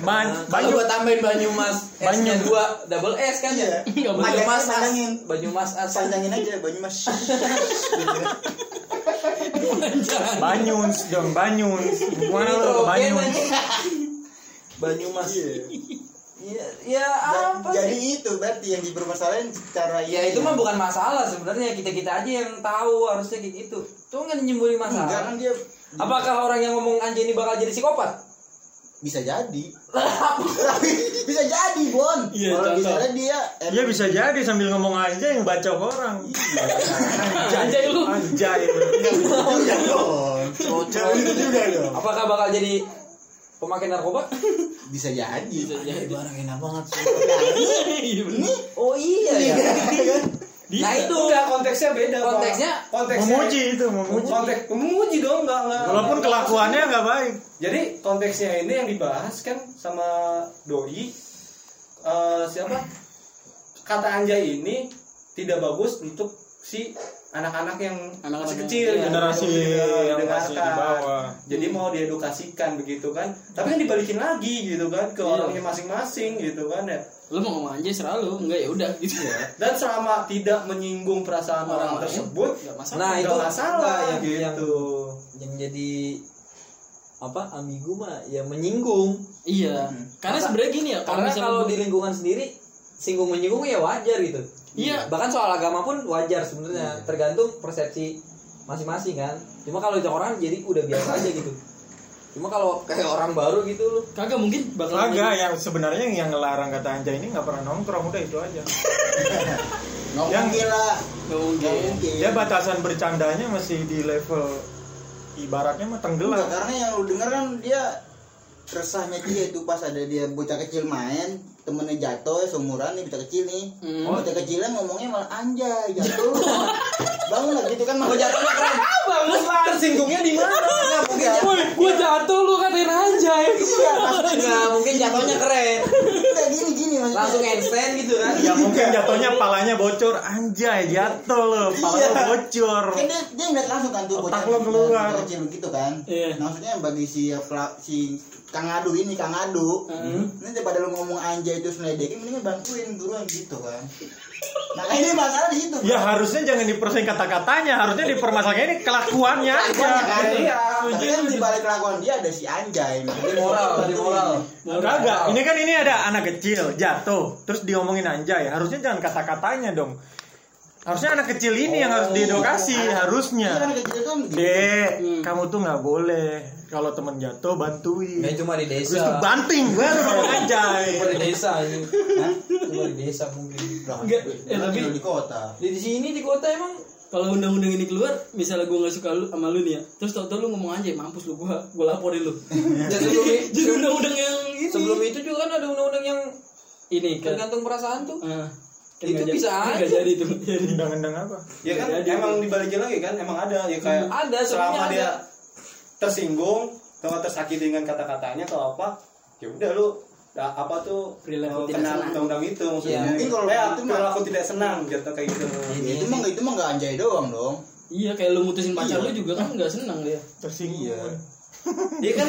S5: Ban.
S2: Nah, Kalau
S5: Banyu.
S2: gua tambahin Banyumas, S-nya
S5: Banyu.
S2: dua double S kan ya?
S3: Nggak boleh.
S2: Banyumas as.
S1: Panjangin.
S2: Banyumas as.
S1: panjangin aja Banyumas
S3: Jangan.
S5: Banyuns dong, Banyuns. Mana lu ke Banyuns?
S1: Banyumas
S2: Ya, ya
S1: Ja-
S2: apa?
S1: jadi
S2: sih?
S1: itu berarti yang dipermasalahin secara
S2: Ya itu mah bukan masalah sebenarnya kita kita aja yang tahu harusnya kayak gitu. Tuh nggak nyemburi
S1: enggak kan
S2: masalah.
S1: dia
S2: Apakah orang yang ngomong anjing ini bakal jadi psikopat?
S1: bisa jadi bisa jadi Bon
S3: Iya,
S1: kalau
S3: contoh.
S1: misalnya dia
S5: Iya bisa jadi sambil ngomong aja yang baca ke orang.
S3: Anjay lu.
S5: Anjay.
S1: Iya dong
S2: Cocok.
S1: Itu juga dong
S2: Apakah bakal jadi pemakai narkoba?
S1: bisa jadi
S3: Bisa jadi.
S1: Ada barang enak banget sih
S3: Iya bener.
S1: ini
S2: Oh iya ya.
S1: kan?
S5: iya.
S2: Nah
S3: Bisa.
S2: itu
S4: Enggak konteksnya beda. Pak.
S2: Konteksnya-
S4: konteksnya
S5: Memuji itu, memuji.
S4: Konteks memuji dong enggak enggak.
S5: Walaupun kelakuannya nggak baik.
S4: Jadi konteksnya ini yang dibahas kan sama doi eh, siapa? Kata anjay ini tidak bagus untuk si anak-anak yang
S3: Anak-anak
S4: masih
S3: yang-
S4: kecil
S3: iya.
S5: Generasi
S4: Tidak
S5: yang masih di
S4: didengarkan.
S5: bawah.
S4: Jadi mau diedukasikan begitu kan. Tapi kan dibalikin lagi gitu kan ke orangnya masing-masing gitu kan ya.
S3: Lu mau ngomong anjay serah lu, enggak ya udah gitu
S1: Iya.
S3: ya.
S4: Dan selama tidak menyinggung perasaan
S3: Orang
S4: orang,
S3: lain.
S4: tersebut,
S3: Enggak masalah.
S2: Nah
S4: nggak
S2: itu
S4: masalah
S2: nah,
S4: gitu.
S2: yang, yang jadi apa ambigu mah ya menyinggung.
S3: Iya. Karena sebenarnya gini ya, kalau
S2: Karena
S3: misalnya
S2: kalau
S3: gua-
S2: di lingkungan sendiri singgung menyinggung ya wajar gitu.
S3: Iya.
S2: Bahkan soal agama pun wajar sebenarnya tergantung persepsi masing-masing kan. Cuma kalau itu orang jadi udah biasa aja gitu. Cuma kalau kayak orang baru gitu lu
S3: kagak mungkin bakal
S5: Kagak yang sebenarnya yang ngelarang kata anjay ini nggak pernah nongkrong udah itu aja.
S1: yang gila nggak
S3: Nggak mungkin.
S1: mungkin
S5: Dia Ya, batasan bercandanya masih di level ibaratnya mah
S1: Enggak,
S5: tenggelam.
S1: karena yang lu denger kan dia resahnya dia itu pas ada dia bocah kecil main temennya jatuh ya seumuran nih bocah kecil nih
S3: Hmm.
S1: bocah kecilnya ngomongnya malah anjay jatuh bangun lah gitu kan mau jatuh
S4: Terus lah singgungnya di mana?
S1: nggak mungkin jatuh
S3: Woi, gua jatuh lu katain ya. anjay.
S1: iya pasti
S2: Nah, mungkin jatuhnya keren.
S1: nggak gini gini maksudnya
S2: Langsung handstand gitu kan.
S5: Ya mungkin jatuhnya palanya bocor anjay jatuh loh, palanya
S1: Iya.
S5: bocor.
S1: kan dia dia ngeliat langsung kan tuh bocah
S5: Otak lo keluar.
S1: bocah kecil gitu kan
S3: Iya.
S1: Nah, maksudnya bagi si pela- si Kang Adu ini Kang Adu ini daripada lu ngomong anjay itu seledekin mendingan bantuin buruan gitu kan nah ini masalah di situ
S5: Ya harusnya jangan dipersaing kata-katanya, harusnya dipermasalahin ini kelakuannya aja.
S4: Iya.
S1: Tapi kan di balik kelakuan dia ada si anjay. Ada
S2: moral, ada moral.
S5: Kagak. Ini kan ini ada anak kecil jatuh, terus diomongin anjay. Harusnya jangan kata-katanya dong. Harusnya anak kecil ini yang harus diedukasi harusnya. Iya.
S1: Kan Oh. kecil kan gitu.
S5: Dek,
S3: Hmm.
S5: kamu tuh nggak boleh kalau temen jatuh bantuin.
S2: Nah, cuma di
S5: Terus
S2: desa.
S5: kebanting baru dong anjay.
S2: Cuma di desa ini. Cuma di desa mungkin.
S1: Lah,
S3: Enggak, ya
S1: kan
S3: tapi
S1: tinggal di kota.
S2: Di di sini di kota emang
S3: kalau undang-undang ini keluar, misalnya gua nggak suka lu sama lu nih ya, terus tau-tau lu ngomong anjay, mampus lu gua, gua laporin lu.
S2: ya
S3: jadi,
S2: sebelum,
S3: jadi undang-undang yang ini.
S2: sebelum itu juga kan ada undang-undang yang
S3: ini kan.
S2: tergantung perasaan tuh.
S3: Ah, kan
S2: Itu
S3: nggak
S2: bisa
S3: jadi-
S2: aja.
S3: nggak jadi itu nggak jadi.
S5: Undang-undang apa?
S4: Ya kan
S3: Jadi.
S4: emang dibalikin lagi kan emang ada ya
S3: Hmm.
S4: kayak
S2: Ada,
S4: selama
S2: sebenarnya
S4: dia
S2: ada.
S4: tersinggung atau tersakiti dengan kata-katanya atau apa ya udah lu da- apa tuh
S3: Perilaku
S4: eh,
S3: tidak
S4: kena
S3: senang.
S4: undang-undang itu maksudnya
S2: Iya.
S1: Mungkin kalau
S4: ya,
S1: itu mah-
S4: perilaku tidak senang jatuh kayak gitu
S1: Ya, itu mah itu mah enggak anjay doang dong.
S3: Iya, kayak lu mutusin pacar
S1: Iya.
S3: lu juga kan nggak senang dia.
S5: Tersinggung.
S1: Iya.
S4: Iya kan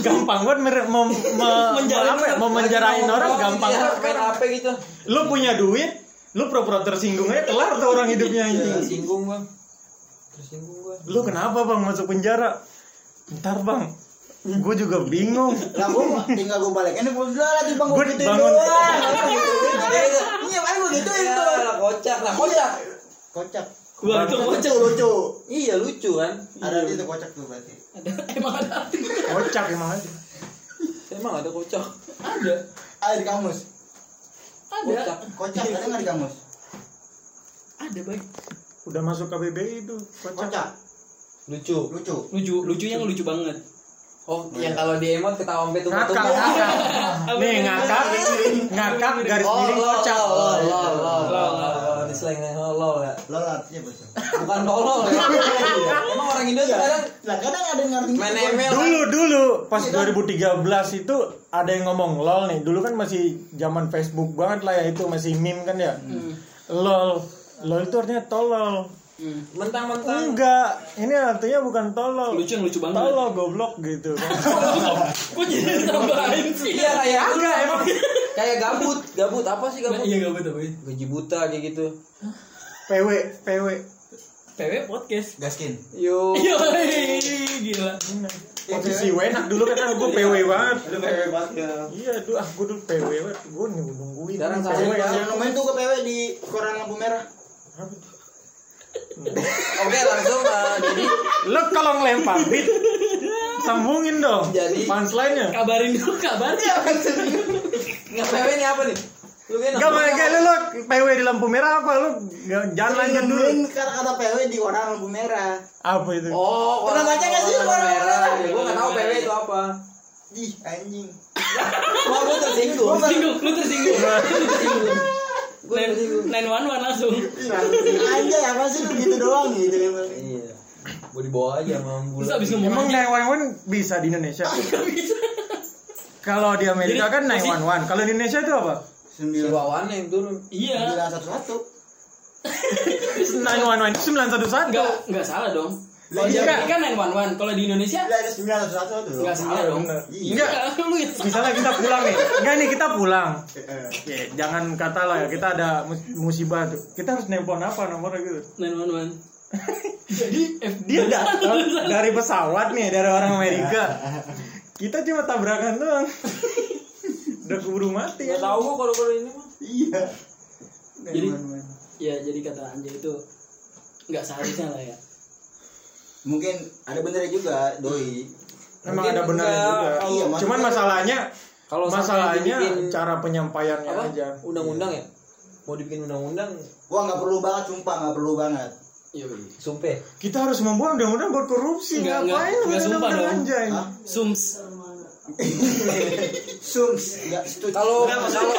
S5: Gampang banget mer- mem, me-
S3: Menjarain
S5: apa ya, mau menjarain
S2: Lagi
S5: orang
S2: ngomong
S5: gampang
S2: gitu ya,
S5: banget.
S2: Main HP gitu.
S5: Lu punya duit, lu pura-pura tersinggung aja kelar tuh orang hidupnya anjing.
S2: Tersinggung bang. Tersinggung gua.
S5: Lu kenapa bang masuk penjara? Ntar bang, gue juga bingung.
S1: Lah gua mah tinggal gua balik. Ini gua udah lagi bangun
S5: Gua
S1: gitu
S5: bangun.
S1: doang. Iya, kan gua gitu itu.
S2: Ya
S5: Oh, gitu
S2: Iya, lah kocak lah kocak.
S5: Iya.
S1: Kocak.
S3: Wah, itu
S1: Lucu
S3: kocak.
S1: lucu.
S2: Iya lucu kan?
S1: Ada arti itu kocak tuh berarti.
S3: ada emang ada arti
S5: Kocak emang aja.
S2: Emang ada kocak.
S3: ada
S1: Ada di kamus.
S3: ada
S2: Kocak.
S1: Kocak ada nggak di kamus?
S3: ada baik
S5: Udah masuk KBBI itu kocak.
S1: Kocak.
S2: Lucu.
S1: Lucu.
S3: lucu lucunya lucu banget
S2: Oh, yang kalau di emot ketawa sampai
S5: Iya.
S2: Iya.
S5: Ngakak,
S2: tunggu-tunggu.
S5: ngakak. Nih ngakak, ngakak garis
S2: Oh,
S5: miring
S2: lol,
S5: kocak. Iya.
S2: lol, lol, lol, lol,
S3: Lol,
S2: lol, lol. Di slang lol, lol ya.
S1: Lol artinya betul.
S2: Bukan tolol. ya. Emang orang Indo sekarang
S1: Nah kadang ada yang ngerti.
S2: main ML.
S5: Dulu dulu pas 2013 itu ada yang ngomong lol nih. Dulu kan masih zaman Facebook banget lah ya itu masih meme kan ya. Lol. Lol itu artinya tolol.
S2: Hmm. Mentang-mentang
S5: Enggak, ini artinya bukan tolol.
S3: lucu yang lucu banget
S5: Tolol goblok gitu.
S3: kok jadi tambahin sih
S2: Iya kayak
S5: Enggak emang
S2: kayak gabut, gabut apa sih
S3: Nah,
S2: gabut?
S3: iya gak betul betul
S2: Gaji buta kayak gitu.
S5: PW PW.
S3: PW podcast
S1: Gaskin.
S2: Yo.
S3: Yoi, gila
S5: Posisi wenak dulu kan aku PW banget.
S4: Aduh, bebek banget ya.
S5: Iya, dulu ah gue dulu PW banget. Gue nungguin.
S2: Sekarang
S5: PW.
S2: saya-
S1: Yang yang nemuin tuh ke PW di koran lampu merah.
S2: Oke, langsung uh, jadi
S5: Lo kalau ngelempar beat sambungin dong.
S2: Jadi-
S5: punchline-nya.
S3: kabarin dulu
S1: Iya,
S3: kabarnya
S2: nggak PW ini apa nih? Lu kan
S5: Gak mau kayak lu lo PW di lampu merah apa lu Nggak- jangan Kan lanjut dulu.
S1: Nemuin kata-kata PW di koran lampu merah.
S5: Apa itu?
S2: Oh,
S1: Pernah baca nggak sih,
S2: warna
S1: warna
S2: merah? gitu.
S1: merah?
S2: Gua nggak tahu PW itu apa.
S1: Di anjing.
S2: Wah, gua tersinggung.
S3: tersinggung lu tersinggung Lu tersinggung
S2: Gua tersinggung.
S3: nine one one langsung
S1: Anjay apa sih lu gitu doang gitu kan.
S2: Iya. Gua dibawa aja sama
S3: terus
S2: ambulan.
S3: abis ngomong
S5: Emang
S3: anjing,
S5: 911 bisa di Indonesia?
S3: gak bisa
S5: Kalau di Amerika
S3: Jadi,
S5: kan
S3: posisi-
S5: 911. Kalau di Indonesia itu apa?
S2: Si
S1: Sembilan.
S2: Wawan yang turun.
S3: iya
S1: Sembilan satu satu.
S5: 911 itu 911.
S3: nggak nggak salah dong kalau di
S5: Iya.
S3: Amerika nine one one kalau di Indonesia
S1: Ada sembilan satu satu tuh.
S3: nggak salah dong
S5: Bener.
S1: Iya.
S5: Enggak.
S3: lu yang salah
S5: Misalnya kita pulang nih. Enggak nih kita pulang.
S1: Eh,
S5: Ya, jangan kata lah ya kita ada mus- musibah tuh. Kita harus nelpon apa nomornya gitu.
S3: nine one one jadi F-
S5: Dia datang dari pesawat nih dari orang Amerika. Kita cuma tabrakan doang. Udah keburu mati. ya.
S2: Gak tahu gua kalau kalau ini mah.
S1: Iya.
S3: Jadi- ya jadi kata anjay itu nggak seharusnya lah ya
S1: mungkin ada benernya juga doi.
S5: Emang
S2: Mungkin
S5: ada benarnya
S2: enggak,
S5: juga.
S1: kalau- Iya,
S5: Cuman
S1: maksudnya-
S5: masalahnya
S2: Kalau sampai
S5: masalahnya
S2: dibikin
S5: cara penyampaiannya
S2: apa?
S5: aja. Iya.
S2: Undang-undang ya? Mau dibikin undang-undang
S1: Wah nggak perlu banget sumpah nggak perlu banget.
S3: Yoi.
S2: sumpah.
S5: Kita harus membuat undang-undang buat korupsi.
S3: Enggak, enggak.
S5: Ngapain
S3: Enggak, sumpah
S5: undang-undang
S3: dong.
S5: anjay?
S1: Hah?
S3: Sums
S1: Sums nggak setuju.
S2: Kalau
S4: Enggak, masalah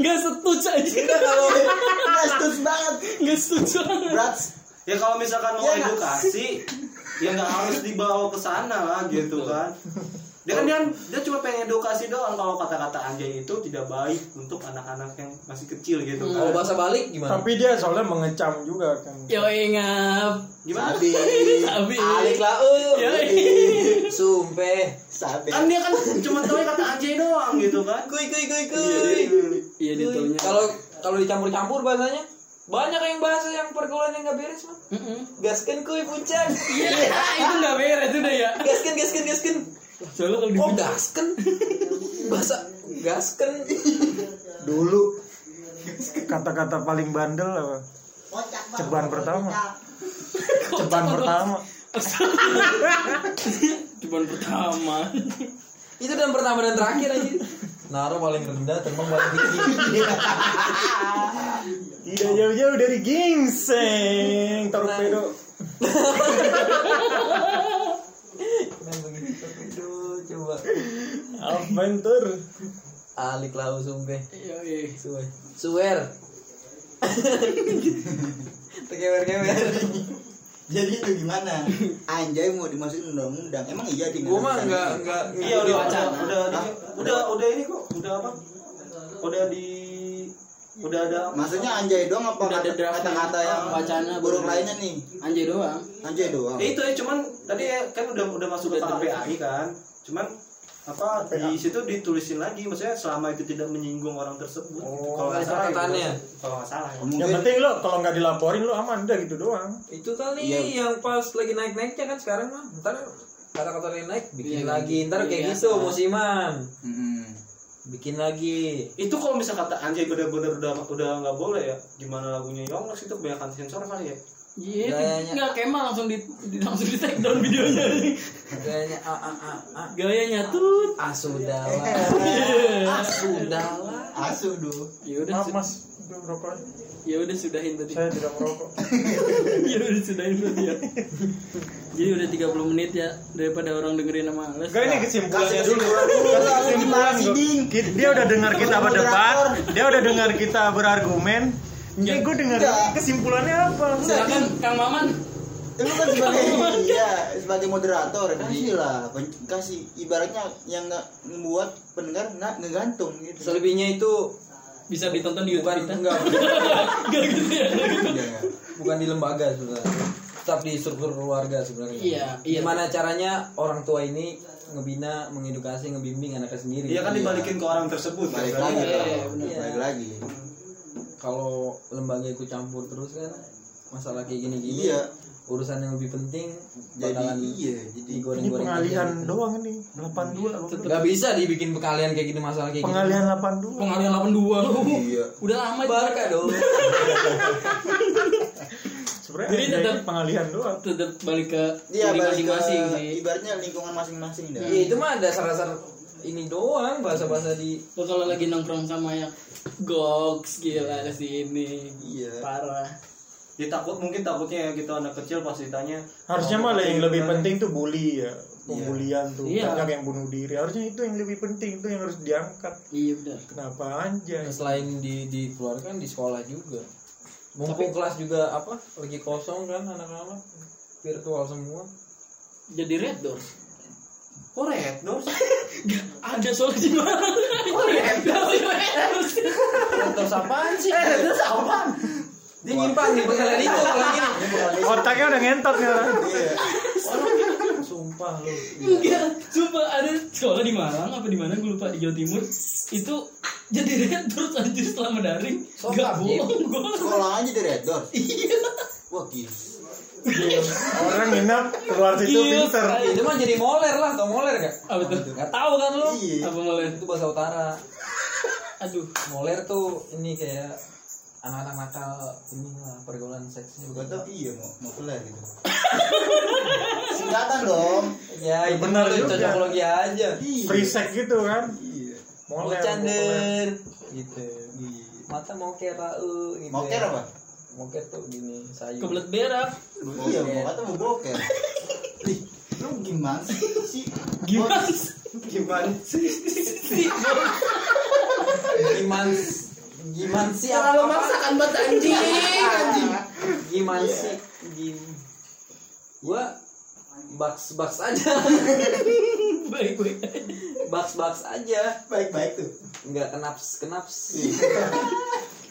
S3: nggak setuju aja
S1: Enggak, kalau nggak setuju banget.
S3: nggak setuju
S1: Berat.
S4: Ya kalau misalkan mau
S1: Iya, nggak?
S4: edukasi, ya nggak harus dibawa ke sana lah gitu
S3: Betul.
S4: kan. Dia kan dia, dia cuma pengen edukasi doang kalau kata-kata anjay itu tidak baik untuk anak-anak yang masih kecil gitu kan.
S3: Hmm.
S2: kalau bahasa balik gimana?
S5: Tapi dia soalnya mengecam juga kan.
S3: Yoi ngap
S4: Gimana?
S1: Sabi.
S3: Sabi
S2: Alik lah, eh.
S3: Yoi
S2: Sumpah.
S1: Sabi.
S4: Kan dia kan cuma tahu kata anjay doang gitu kan.
S2: Kuy kuy kuy
S4: Jadi,
S2: kuy.
S3: Iya dia taunya
S2: Kalau kalau dicampur-campur bahasanya banyak yang bahasa yang pergaulan yang nggak beres mah.
S3: Mm-mm.
S2: Gaskan kuy puncak.
S3: Iya itu nggak beres udah ya
S2: Gaskan gaskan gaskan.
S3: Soalnya
S2: Oh
S3: kalau dibuka
S2: gaskan. Bahasa gaskan.
S5: Dulu kata-kata paling bandel apa?
S1: Kocak banget.
S5: Ceban pertama. Ceban pertama.
S3: Cuman pertama
S2: Itu dan pertama dan terakhir aja. Naro paling rendah, terbang paling tinggi.
S5: Tidak Iya, jauh-jauh dari gingseng torpedo.
S2: Kenapa gitu? Aduh, coba.
S5: Adventure.
S2: Alik lau sumpah.
S3: Yoi
S2: Suwe. Suwer. Terkewer-kewer.
S1: Jadi itu gimana? Anjay mau dimasukin undang-undang. Emang iya di
S2: Gua mah enggak enggak
S4: Iya udah udah
S1: wacana.
S4: udah
S1: Hah?
S4: udah udah ini kok udah apa? Udah di udah ada
S1: Maksudnya anjay doang apa
S3: Udah ada
S1: kata-
S3: draftnya.
S1: kata-kata yang
S3: Wacana,
S1: buruk
S3: buruk.
S1: lainnya nih?
S3: Anjay doang
S1: Anjay doang.
S4: Ya itu ya cuman tadi ya kan udah udah masuk ke
S3: Udah
S4: KPAI kan. Cuman apa di situ ditulisin lagi maksudnya selama itu tidak menyinggung orang tersebut. gitu.
S5: Oh,
S4: kalau nggak salah ya,
S2: catatannya.
S4: Kalau nggak salah ya.
S5: Yang penting lo kalau nggak dilaporin lo aman udah gitu doang.
S2: Itu kali
S1: Iya.
S2: yang pas lagi naik-naiknya kan sekarang mah. Ntar kata-kata lain naik bikin
S3: Iya,
S2: lagi. Ntar kayak
S3: iya.
S2: gitu musiman.
S1: Mm-mm.
S2: Bikin lagi.
S4: Itu kalau misal kata anjay bener-bener udah udah nggak boleh ya. Gimana lagunya Yongles itu kebanyakan sensor kali ya.
S3: Iya,
S2: Gayanya.
S3: enggak Kemal langsung di, di langsung di take down videonya.
S2: Gayanya a a a a
S3: Gayanya tut.
S2: ah sudahlah. Ah sudahlah.
S1: Asuh duh.
S3: Ya udah,
S5: Maaf
S3: su-
S5: mas, itu rokok.
S3: ya udah sudahin tadi.
S5: Saya tidak merokok.
S3: Ya udah sudahin tadi ya. Jadi udah 30 menit ya daripada orang dengerin sama les.
S5: Gak ini
S1: Kasih
S5: kesimpulannya dulu.
S1: kesimpulan dulu lah, lu
S5: Kasih
S1: gimana
S5: kesimpulan
S1: sih,
S5: gua.
S1: Ding?
S5: Ki- Dia udah dengar kita
S1: Sama
S5: berdebat,
S1: moderator.
S5: dia udah dengar kita berargumen. Ini gue dengar
S1: Enggak.
S5: kesimpulannya apa?
S3: Silakan Kang Maman.
S1: Lu kan sebagai iya, sebagai moderator kasih lah, pen- kasih ibaratnya yang nggak membuat pendengar nggak ngegantung gitu.
S2: Selebihnya itu
S3: Bisa ditonton di YouTube
S2: bukan
S3: kita.
S2: enggak
S3: Enggak gitu ya.
S1: Iya.
S2: bukan di lembaga sebenarnya. Tetap di struktur keluarga sebenarnya.
S3: Iya, iya.
S2: Gimana caranya orang tua ini ngebina, mengedukasi, ngebimbing anaknya sendiri.
S4: Iya kan dibalikin ke orang tersebut.
S1: Balik
S4: kan?
S1: lagi lah.
S3: Iya, bener.
S1: Balik lagi.
S2: Kalau lembaga ikut campur terus kan masalah kayak gini-gini.
S1: Iya.
S2: Urusan yang lebih penting
S1: Jadi
S2: bakalan
S1: iya, jadi
S5: Ini
S2: digoreng-goreng.
S5: pengalihan
S2: aja.
S5: doang ini, 82. gua bilang.
S2: Gak bisa dibikin pengalian kayak gitu masalah kayak gitu.
S5: Pengalihan 82.
S3: Pengalian 82 lu.
S1: Iya.
S3: Udah lama itu.
S2: Barca dong.
S5: Sebenarnya
S3: Jadi
S5: ada
S3: tetap-
S5: ini pengalihan doang.
S3: Tetap Iya, balik ke
S1: Dia
S3: diri
S1: balik ke
S3: masing-masing sih.
S1: ibaratnya lingkungan masing-masing dah.
S2: Iya itu mah dasar-dasar ini doang bahasa-bahasa di
S3: Lo kalau lagi nongkrong sama yang goks gila di sini.
S1: Iya.
S3: Parah.
S4: Ya takut mungkin takutnya gitu anak kecil pas ditanya.
S5: Harusnya
S4: "Oh,
S5: malah yang
S4: gitu
S5: lebih
S4: kan."
S5: penting tuh bully ya, pembulian tuh
S3: Iya.
S5: banyak yang bunuh diri. Harusnya itu yang lebih penting tuh yang harus diangkat.
S3: Iya benar.
S5: Kenapa anjay?
S2: selain di dikeluarkan di sekolah juga. Mumpung kelas juga apa lagi kosong kan anak-anak virtual semua.
S3: Jadi red door.
S4: Kok red doors?
S3: Ada soal di mana? Oh, iya. Red door.
S2: Terus apaan sih?
S4: Eh, red doors apaan?
S2: Dia nyimpan di bekalan itu kalau gini.
S3: Iya.
S5: Otaknya udah ngentot nih orang.
S1: Iya.
S2: Sumpah lu.
S3: Enggak. Sumpah ada sekolah di Malang apa di mana gue lupa di Jawa Timur. Itu jadi red door anjir setelah mendaring.
S2: Sokap,
S3: Gak
S2: Jim.
S3: bohong Iya. gue.
S1: Sekolah aja di Red Door. Wah gila.
S5: Orang nginep keluar situ
S3: Iya,
S5: pinter.
S3: tai.
S2: Itu mah jadi moler lah, tau moler gak?
S3: Apa tuh?
S2: Gak tau kan lu?
S1: Iya.
S3: Apa mulai?
S2: Itu bahasa utara.
S3: Aduh.
S2: Moler tuh ini kayak anak-anak nakal inilah pergaulan seksnya
S1: Gua
S2: bukan
S1: tau iya mau mau kelar gitu. Singkatan dong.
S2: Ya, itu
S5: benar
S2: mah lu
S5: juga.
S2: cocokologi aja.
S1: Iya.
S5: Free sex gitu kan.
S1: Iya.
S5: Moler. moler.
S2: Bocander gitu. Mata moker au gitu.
S1: Iya. Mau
S2: ya.
S1: care apa?
S2: Moker tuh gini, sayur.
S3: Kebelet berak.
S1: Iya, mau kata mau boker. Ih, lu gimana sih? Si-
S3: Gimana?
S4: Gimana sih?
S2: Gimana gimana sih
S4: Terlalu
S2: apa-
S4: maksakan banget anjing, anjing.
S2: Gimana sih? Gim. Gua baks baks aja.
S3: Baik-baik aja.
S2: baks baks aja.
S1: Baik-baik tuh.
S2: Enggak kenaps kenaps.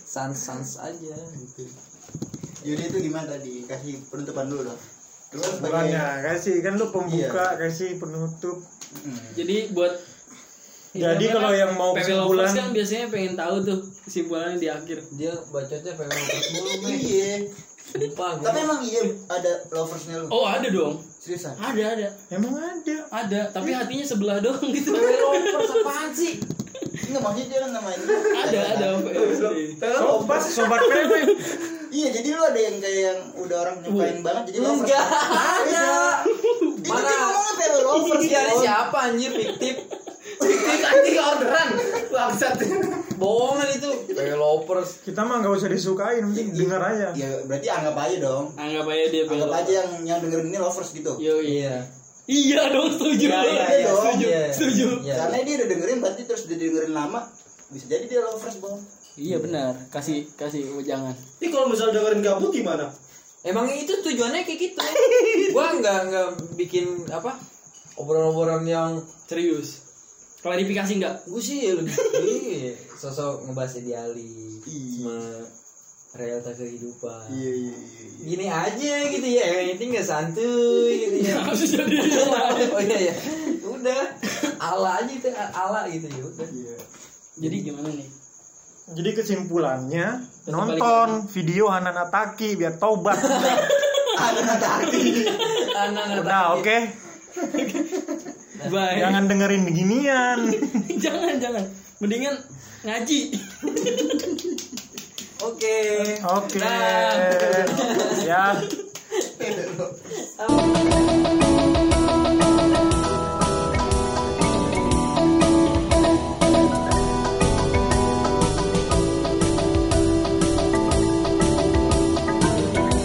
S2: sans sans aja gitu.
S1: Yudi itu gimana tadi? Kasih penutupan dulu dong. Lu kan sebagai
S5: Bulannya kasih kan lu pembuka
S3: Iya.
S5: kasih penutup.
S1: Mm.
S3: Jadi buat
S5: Jadi
S3: Iya,
S5: kalau
S3: kan?
S5: yang mau
S3: PW
S5: kesimpulan-
S3: lovers kan biasanya pengen tahu tuh kesimpulannya di akhir.
S2: Dia bacotnya pengen ngotot mulu, men.
S1: Iya.
S2: Sumpah gua.
S1: Tapi emang iya ada loversnya lu.
S3: Oh ada dong.
S1: Seriusan.
S3: Ada ada
S5: Emang ada.
S3: ada. Tapi hatinya sebelah doang gitu.
S2: Lovers apaan sih?
S1: Enggak maksudnya dia kan namanya.
S3: ada ada. PW.
S5: Sobat sobat PW.
S1: Iya, jadi lu ada yang kayak yang udah orang nyukain banget jadi lovers.
S2: Enggak ada.
S1: Itu
S2: Mana?
S1: dia ngomongnya kayak lu lovers gitu.
S2: Dia ada
S1: Bon.
S2: siapa anjir fiktif?
S4: Ini anjing orderan. Bangsat.
S2: Bohongan itu. Developers.
S5: Kita mah nggak usah disukain,
S3: Iya.
S5: mending dengar aja.
S1: Ya berarti anggap aja dong.
S3: Anggap aja dia
S1: Anggap
S3: belok.
S1: aja yang yang dengerin ini lovers gitu.
S3: Yo iya.
S2: Iya.
S3: Iya dong setuju.
S2: Iya, iya,
S1: iya,
S2: setuju,
S3: Setuju. Setuju.
S2: Iya.
S1: Karena dia udah dengerin berarti terus dia dengerin lama bisa jadi dia lovers bang.
S3: Iya benar. Kasih kasih jangan.
S4: Ini kalau misal dengerin gabut gimana?
S2: Emang itu tujuannya kayak gitu. gua nggak nggak bikin apa obrolan-obrolan yang
S3: Serius. Klarifikasi enggak?
S2: gue sih lebih iya, sosok ngebahas idealisme realita kehidupan.
S1: Iya iya iya.
S2: Gini aja gitu ya, yang penting nggak santuy gitu ya.
S3: Harus jadi
S2: oh iya ya, udah ala aja itu ala gitu ya udah.
S1: Iya.
S3: Jadi gimana nih?
S5: Jadi kesimpulannya nonton video Hanana Taki biar taubat.
S1: Ada mata hati.
S2: Anak
S5: Udah oke,
S3: Bye.
S5: jangan dengerin beginian.
S3: jangan jangan. Mendingan ngaji.
S2: Oke.
S5: Oke.
S2: Dah.
S5: ya.